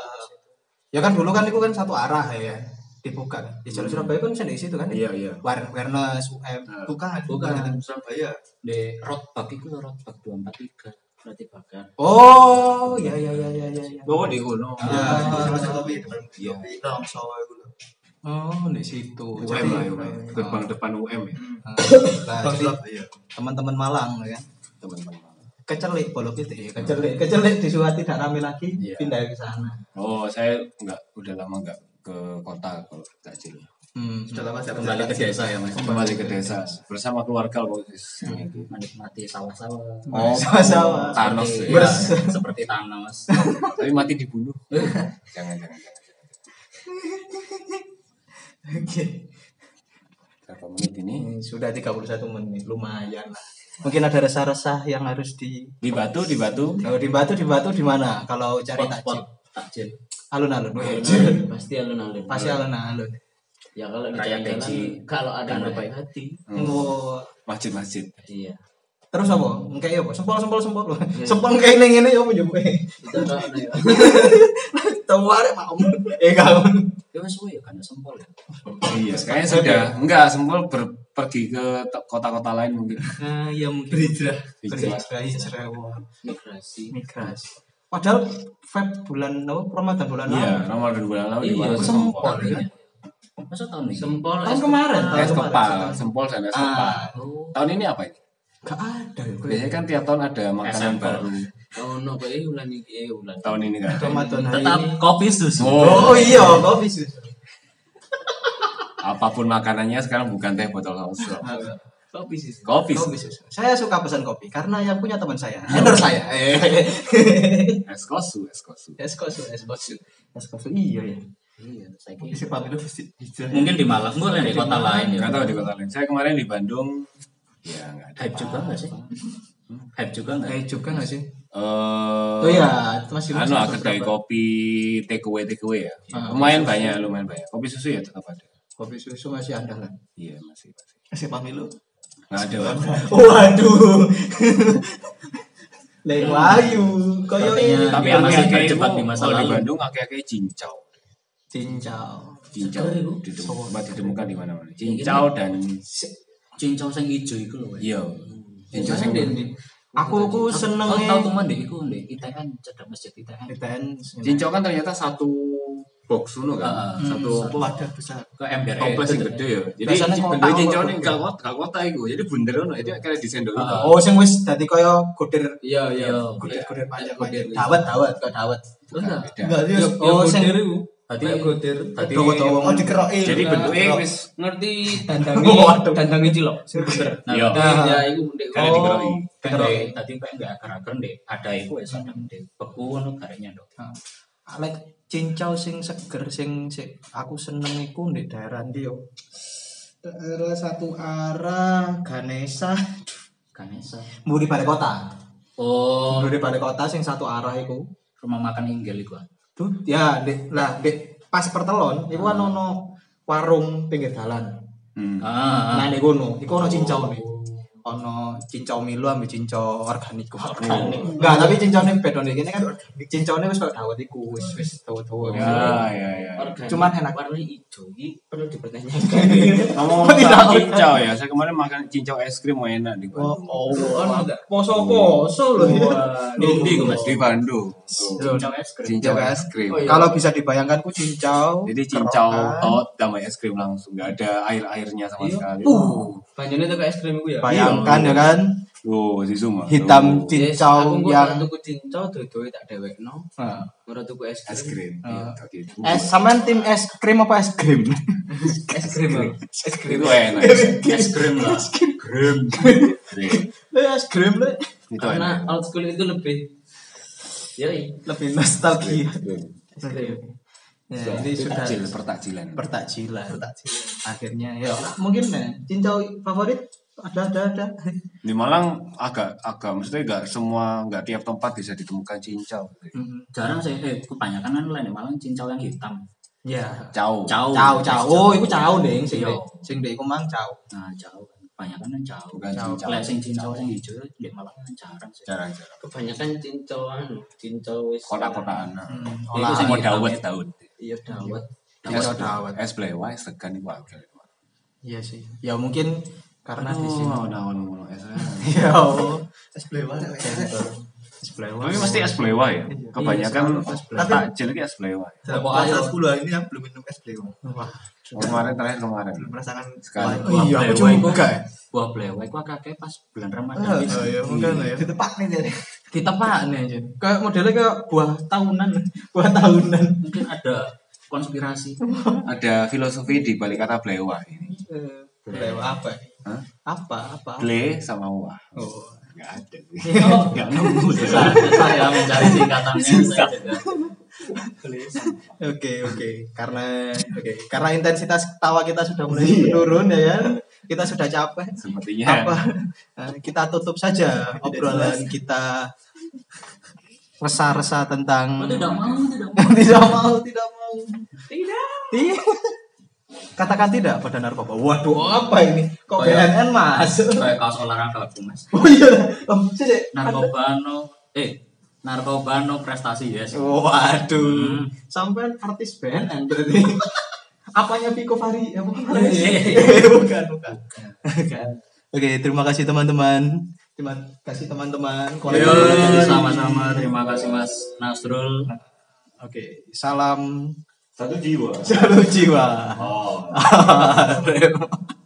Speaker 1: ya kan dulu kan itu kan satu arah ya dibuka kan. Di Jalan Surabaya kan bisa di situ kan.
Speaker 4: iya iya
Speaker 1: War Warnes UM bukan.
Speaker 2: Bukan.
Speaker 5: Surabaya.
Speaker 2: Di Rotbak itu loh, Rotbak 243.
Speaker 6: Berarti bakar.
Speaker 1: Oh, iya iya iya iya iya. iya.
Speaker 4: oh di Gunung
Speaker 1: Ya,
Speaker 5: Rasa kopi depan
Speaker 4: Iya.
Speaker 5: Rongsol itu.
Speaker 1: Oh, di situ.
Speaker 4: UM
Speaker 1: Jadi,
Speaker 4: lah UM gerbang depan UM
Speaker 1: eh,
Speaker 4: ya
Speaker 1: nah,
Speaker 5: Bang
Speaker 1: jadi
Speaker 5: Surabaya.
Speaker 1: teman-teman Malang ya kan.
Speaker 4: teman-teman
Speaker 1: Kecelik bolok itu ya. Kecelik, kecelik di Suhati tidak ramai lagi,
Speaker 4: Iya.
Speaker 1: pindah ke sana.
Speaker 4: oh saya enggak udah lama enggak ke kota kalau takjil
Speaker 1: Hmm.
Speaker 5: Sudah lama saya
Speaker 2: Kembali ke desa ya Mas.
Speaker 4: kembali ke desa bersama keluarga loh guys.
Speaker 2: Menikmati sawah-sawah.
Speaker 4: Oh,
Speaker 1: Sama-sama.
Speaker 4: Thanos
Speaker 2: Seperti-
Speaker 4: ya.
Speaker 1: Bers.
Speaker 2: ya, seperti Thanos.
Speaker 4: tapi mati dibunuh jangan jangan jangan
Speaker 1: Oke.
Speaker 4: berapa menit ini
Speaker 1: Ini sudah 31 menit, lumayan lah. Mungkin ada resah-resah yang harus di
Speaker 4: di batu di batu
Speaker 1: kalau di Batu di Batu di mana? Kalau cari
Speaker 2: Spot-spot
Speaker 1: takjil.
Speaker 2: takjil.
Speaker 1: Alun-alun.
Speaker 6: Pasti alun-alun.
Speaker 1: Pasti alun-alun.
Speaker 6: Ya kalau di
Speaker 2: Raya
Speaker 6: jalan
Speaker 2: Keji.
Speaker 6: kalau ada yang
Speaker 2: Kan,
Speaker 6: berbaik hati.
Speaker 1: Engko
Speaker 4: masjid masjid
Speaker 6: Iya.
Speaker 1: terus apa? Engke ya apa? Sempol sempol sempol. Sempol engke ning ngene ya apa yo kowe.
Speaker 6: Kita ada ada ya.
Speaker 1: Tahu arek mak om. Eh kalau
Speaker 2: Ya wes ya kan sempol ya.
Speaker 4: iya kayaknya sudah enggak sempol ber- pergi ke te- kota-kota lain mungkin
Speaker 1: Ah ya mungkin hijrah.
Speaker 4: Hijrah.
Speaker 1: Hijrah hijrah. wah.
Speaker 6: Migrasi.
Speaker 1: Migrasi. Padahal Feb bulan apa? Ramadan bulan lalu.
Speaker 4: iya Ramadan bulan lalu di
Speaker 2: Iya,
Speaker 4: Malang
Speaker 2: sempol
Speaker 1: kan?
Speaker 2: ya.
Speaker 4: Eh,
Speaker 2: Masa tahun ini?
Speaker 6: Sempol
Speaker 1: Tahun kemarin. tahun
Speaker 4: es kepal
Speaker 1: kemarin.
Speaker 4: Eh, sempol dan es kepal
Speaker 2: Oh,
Speaker 4: tahun ini apa ini
Speaker 1: Gak Ah, ada ya kowe.
Speaker 4: biasanya kan tiap tahun ada makanan
Speaker 2: sempol.
Speaker 4: baru
Speaker 6: Oh no, kayak bulan ini eh bulan.
Speaker 4: tahun ini kan
Speaker 1: Ramadan hari
Speaker 2: tetap
Speaker 6: Nah,
Speaker 1: ini.
Speaker 2: kopi susu.
Speaker 1: Oh iya, kok bisa.
Speaker 4: apapun makanannya sekarang bukan teh botol langsung
Speaker 6: Kopi sih.
Speaker 4: kopi
Speaker 1: Ah, Kopi susu. Saya suka pesan kopi karena yang punya teman saya, endor saya.
Speaker 4: es kosu es kosu
Speaker 1: Es kosu, es kosu. Es kosu iya ya.
Speaker 2: Iya, saya kira.
Speaker 5: Isi pamit itu pasti hijrah.
Speaker 2: Oh, Mungkin di Malang, gue di kota
Speaker 1: Iya.
Speaker 2: lain ya.
Speaker 6: kan.
Speaker 4: nggak tahu di kota lain saya kemarin di Bandung ya nggak ada
Speaker 2: Hype juga nggak sih? Hype juga nggak?
Speaker 1: Kayak juga nggak sih?
Speaker 4: Eh,
Speaker 1: Oh iya, masih masih-
Speaker 4: anu ah, kedai kopi take away take away ya lumayan banyak lumayan banyak kopi susu ya tetap ada
Speaker 1: kopi susu masih ada lah.
Speaker 4: iya masih masih
Speaker 5: Isi pamit lu.
Speaker 4: nggak ada
Speaker 1: Waduh. Lek wayu, koyo
Speaker 2: Sepertinya-
Speaker 4: tapi
Speaker 2: Iya,
Speaker 4: aku
Speaker 2: masih
Speaker 4: masih
Speaker 2: terjebak
Speaker 4: terjebak
Speaker 2: di masa
Speaker 4: di
Speaker 2: lalu.
Speaker 4: Bandung akeh-akeh cincau
Speaker 1: cincau.
Speaker 4: cincau
Speaker 2: Seger itu.
Speaker 4: ditemukan tempat ditemukan di mana-mana cincau dan
Speaker 2: Cincau sing ijo itu loh. weh.
Speaker 4: iya cincau
Speaker 2: Mana
Speaker 4: sing
Speaker 2: deh, deh?
Speaker 1: Aku ku
Speaker 2: Aku-
Speaker 1: seneng
Speaker 2: Aku tahu teman deh, iku deh. Kita kan cedak masjid kita kan.
Speaker 4: cincau kan ternyata satu box dulu
Speaker 2: Ah,
Speaker 4: kan satu apa,
Speaker 5: Wadah besar.
Speaker 2: Ke ember.
Speaker 4: kompleks yang gede ya jadi
Speaker 1: Biasanya
Speaker 4: ci-
Speaker 1: kotak
Speaker 4: bentuknya cincau
Speaker 1: apa
Speaker 4: ini
Speaker 1: tuh?
Speaker 4: gak kota gak kota itu ah, jadi bunder ono jadi kayak disendok
Speaker 2: Ah.
Speaker 4: gitu.
Speaker 1: Oh, sing wis dadi koyo goder
Speaker 6: Iya iya.
Speaker 2: Iya.
Speaker 1: goder-goder
Speaker 6: Goder,
Speaker 1: panjang-panjang.
Speaker 6: iya.
Speaker 1: Dawet, dawet, kok dawet.
Speaker 2: Enggak.
Speaker 4: Beda.
Speaker 5: Enggak sih.
Speaker 1: Oh, sing
Speaker 2: Tadi Nah,
Speaker 6: Kayak goder.
Speaker 2: Tadi
Speaker 1: Dawa-dawa.
Speaker 5: Oh dikeroki.
Speaker 4: jadi bentuknya wis
Speaker 6: Ngerti dandangi
Speaker 1: Waduh.
Speaker 6: dandangi cilok. Bener.
Speaker 2: Nah,
Speaker 4: Iya.
Speaker 2: tadi-
Speaker 6: Ya iku ndek.
Speaker 1: Oh,
Speaker 4: karena dikeroki
Speaker 2: kan deh, tadi kayak enggak akar-akar deh. Ada iku wis ada deh. Beku ono gareknya dok.
Speaker 1: Alek Ah, cincau sing seger sing sing aku seneng iku ndek daerah ndi yo. Daerah satu arah Ganesa
Speaker 2: Ganesa.
Speaker 1: Mburi Balai Kota.
Speaker 2: Oh,
Speaker 1: Dulu pada kota sing satu arah iku.
Speaker 2: rumah makan Inggil iku. ah.
Speaker 1: Duh, ya, dek, lah, dek, pas pertelon, iku kan ono warung pinggir dalan.
Speaker 4: Hmm.
Speaker 2: Ah, ah.
Speaker 1: Nah, nek kono, iku ono cincau nih. Ono cincau milu ambil cincau organik. Organik. Enggak, tapi cincau nih bedon iki kan cincau nih wis kok dawet iku, wis wis tuwa-tuwa.
Speaker 4: ya ya.
Speaker 6: Organik,
Speaker 1: Cuman enak.
Speaker 6: warna hijau ini perlu dipertanyakan
Speaker 4: Kamu
Speaker 1: Kok tidak?
Speaker 4: makan cincau ya? Saya kemarin makan cincau es krim wah enak di
Speaker 1: Oh, oh,
Speaker 4: Bandung.
Speaker 1: poso-poso lho.
Speaker 2: Di Ndi iku Mas.
Speaker 4: Di Bandung.
Speaker 2: Cincau es krim.
Speaker 4: Cincau es krim.
Speaker 6: Oh, iya.
Speaker 1: Kalau bisa dibayangkan ku cincau.
Speaker 4: Jadi cincau
Speaker 1: kerokan.
Speaker 4: tot tambah es krim langsung nggak ada air airnya
Speaker 6: Iya.
Speaker 4: sama sekali.
Speaker 6: Banyaknya tuh kayak Uh, es krim itu ya
Speaker 1: Bayangkan ya kan,
Speaker 4: Wow, Oh, si Zuma. Oh.
Speaker 1: hitam
Speaker 4: Wow.
Speaker 1: cincau yang
Speaker 6: tuku cincau doi-doi tak dewek no Murah tuku es
Speaker 4: es
Speaker 6: krim
Speaker 4: krim. Gitu, gitu.
Speaker 1: es sampean tim es krim apa es krim?
Speaker 6: Es krim Bang. Es krim
Speaker 4: itu enak.
Speaker 2: Es krim lah.
Speaker 1: Eh, es krim le.
Speaker 4: Itu enak.
Speaker 6: Karena old school itu lebih
Speaker 2: Iya,
Speaker 6: Yoi
Speaker 1: lebih nostalgia.
Speaker 6: Es krim
Speaker 1: Ya, ini sudah
Speaker 4: Takjil, pertakjilan.
Speaker 1: pertakjilan. Akhirnya ya mungkin ya, cincau favorit ada ada ada.
Speaker 4: Di Malang agak agak maksudnya nggak semua nggak tiap tempat bisa ditemukan cincau.
Speaker 2: Jarang sih, eh kebanyakan kan lain malah cincau yang hitam.
Speaker 1: Ya.
Speaker 4: Cau.
Speaker 2: Cau.
Speaker 1: Cau cau. Oh, iku cau ding sing
Speaker 2: Iya.
Speaker 1: dek. Sing dek iku mang cau.
Speaker 2: Nah, jauh kan. Kebanyakan kan jauh.
Speaker 4: Bukan
Speaker 2: Jauh.
Speaker 4: cincau.
Speaker 2: Lek sing cincau sing hijau di Malang kan jarang sih.
Speaker 4: Jarang-jarang.
Speaker 6: Kebanyakan cincau anu Cincau wis
Speaker 4: Kota-kotaan.
Speaker 1: Hmm,
Speaker 2: Ya, itu
Speaker 1: Olahan.
Speaker 2: sing
Speaker 4: Mau
Speaker 2: hitam
Speaker 4: Nah. dawet Iya,
Speaker 2: ya.
Speaker 4: daun.
Speaker 6: Iya dawet
Speaker 4: Es
Speaker 1: Cincau dawet.
Speaker 4: es blewah, es tekan itu agak.
Speaker 1: Iya sih. Ya mungkin karena di sini.
Speaker 4: naon es.
Speaker 1: Ya.
Speaker 5: Es blewah.
Speaker 1: Es blewah.
Speaker 4: Tapi mesti es blewah ya. Kebanyakan takjil itu es blewah. ya.
Speaker 5: Dalam
Speaker 6: Apa
Speaker 5: puasa
Speaker 6: ayo?
Speaker 5: 10 ini aku belum minum es blewah.
Speaker 1: Wah.
Speaker 4: Kemarin terakhir kemarin.
Speaker 5: Belum merasakan
Speaker 4: Sekali.
Speaker 5: wah,
Speaker 1: Oh, iya, aku
Speaker 2: Blewah iku-
Speaker 1: juga ya.
Speaker 2: Buah blewah iku akeh pas bulan Ramadan.
Speaker 5: Ah,
Speaker 1: Oh,
Speaker 2: gitu.
Speaker 1: iya, mungkin lah ya.
Speaker 5: Ditepak nih jadi.
Speaker 1: Ditepak nih aja. Kayak modelnya kayak buah tahunan, buah tahunan.
Speaker 2: Mungkin ada konspirasi.
Speaker 4: Ada filosofi di balik kata blewah ini.
Speaker 1: Eh, Blewah apa?
Speaker 4: Hah?
Speaker 1: Apa apa?
Speaker 4: Ble sama wah.
Speaker 1: Oh.
Speaker 4: Enggak ada.
Speaker 2: Enggak nemu susah. Saya mencari singkatannya. Susah.
Speaker 1: Oke oke karena oke karena intensitas tawa kita sudah mulai menurun ya kan kita sudah capek
Speaker 4: Sepertinya
Speaker 1: apa eh, kita tutup saja obrolan kita resah-resah tentang
Speaker 2: Oh, Tidak mau, tidak mau.
Speaker 1: tidak mau tidak mau tidak katakan tidak pada narkoba waduh apa ini kok
Speaker 2: Kayak-
Speaker 1: BNN masuk
Speaker 2: Kayak kaos olahraga aku mas.
Speaker 1: oh iya oh, sih, sih.
Speaker 2: Narkoba no, eh narkoba no prestasi yes.
Speaker 1: Oh.
Speaker 2: Hmm.
Speaker 1: waduh sampai artis BNN berarti apanya Viko Fari ya bukan
Speaker 2: Iya,
Speaker 1: bukan bukan Bukan. oke terima kasih teman-teman terima kasih teman-teman
Speaker 2: Yo,
Speaker 1: Kolektif.
Speaker 2: sama-sama. Terima kasih Mas Nasrul.
Speaker 1: oke salam
Speaker 4: satu jiwa.
Speaker 1: selalu jiwa
Speaker 4: Oh.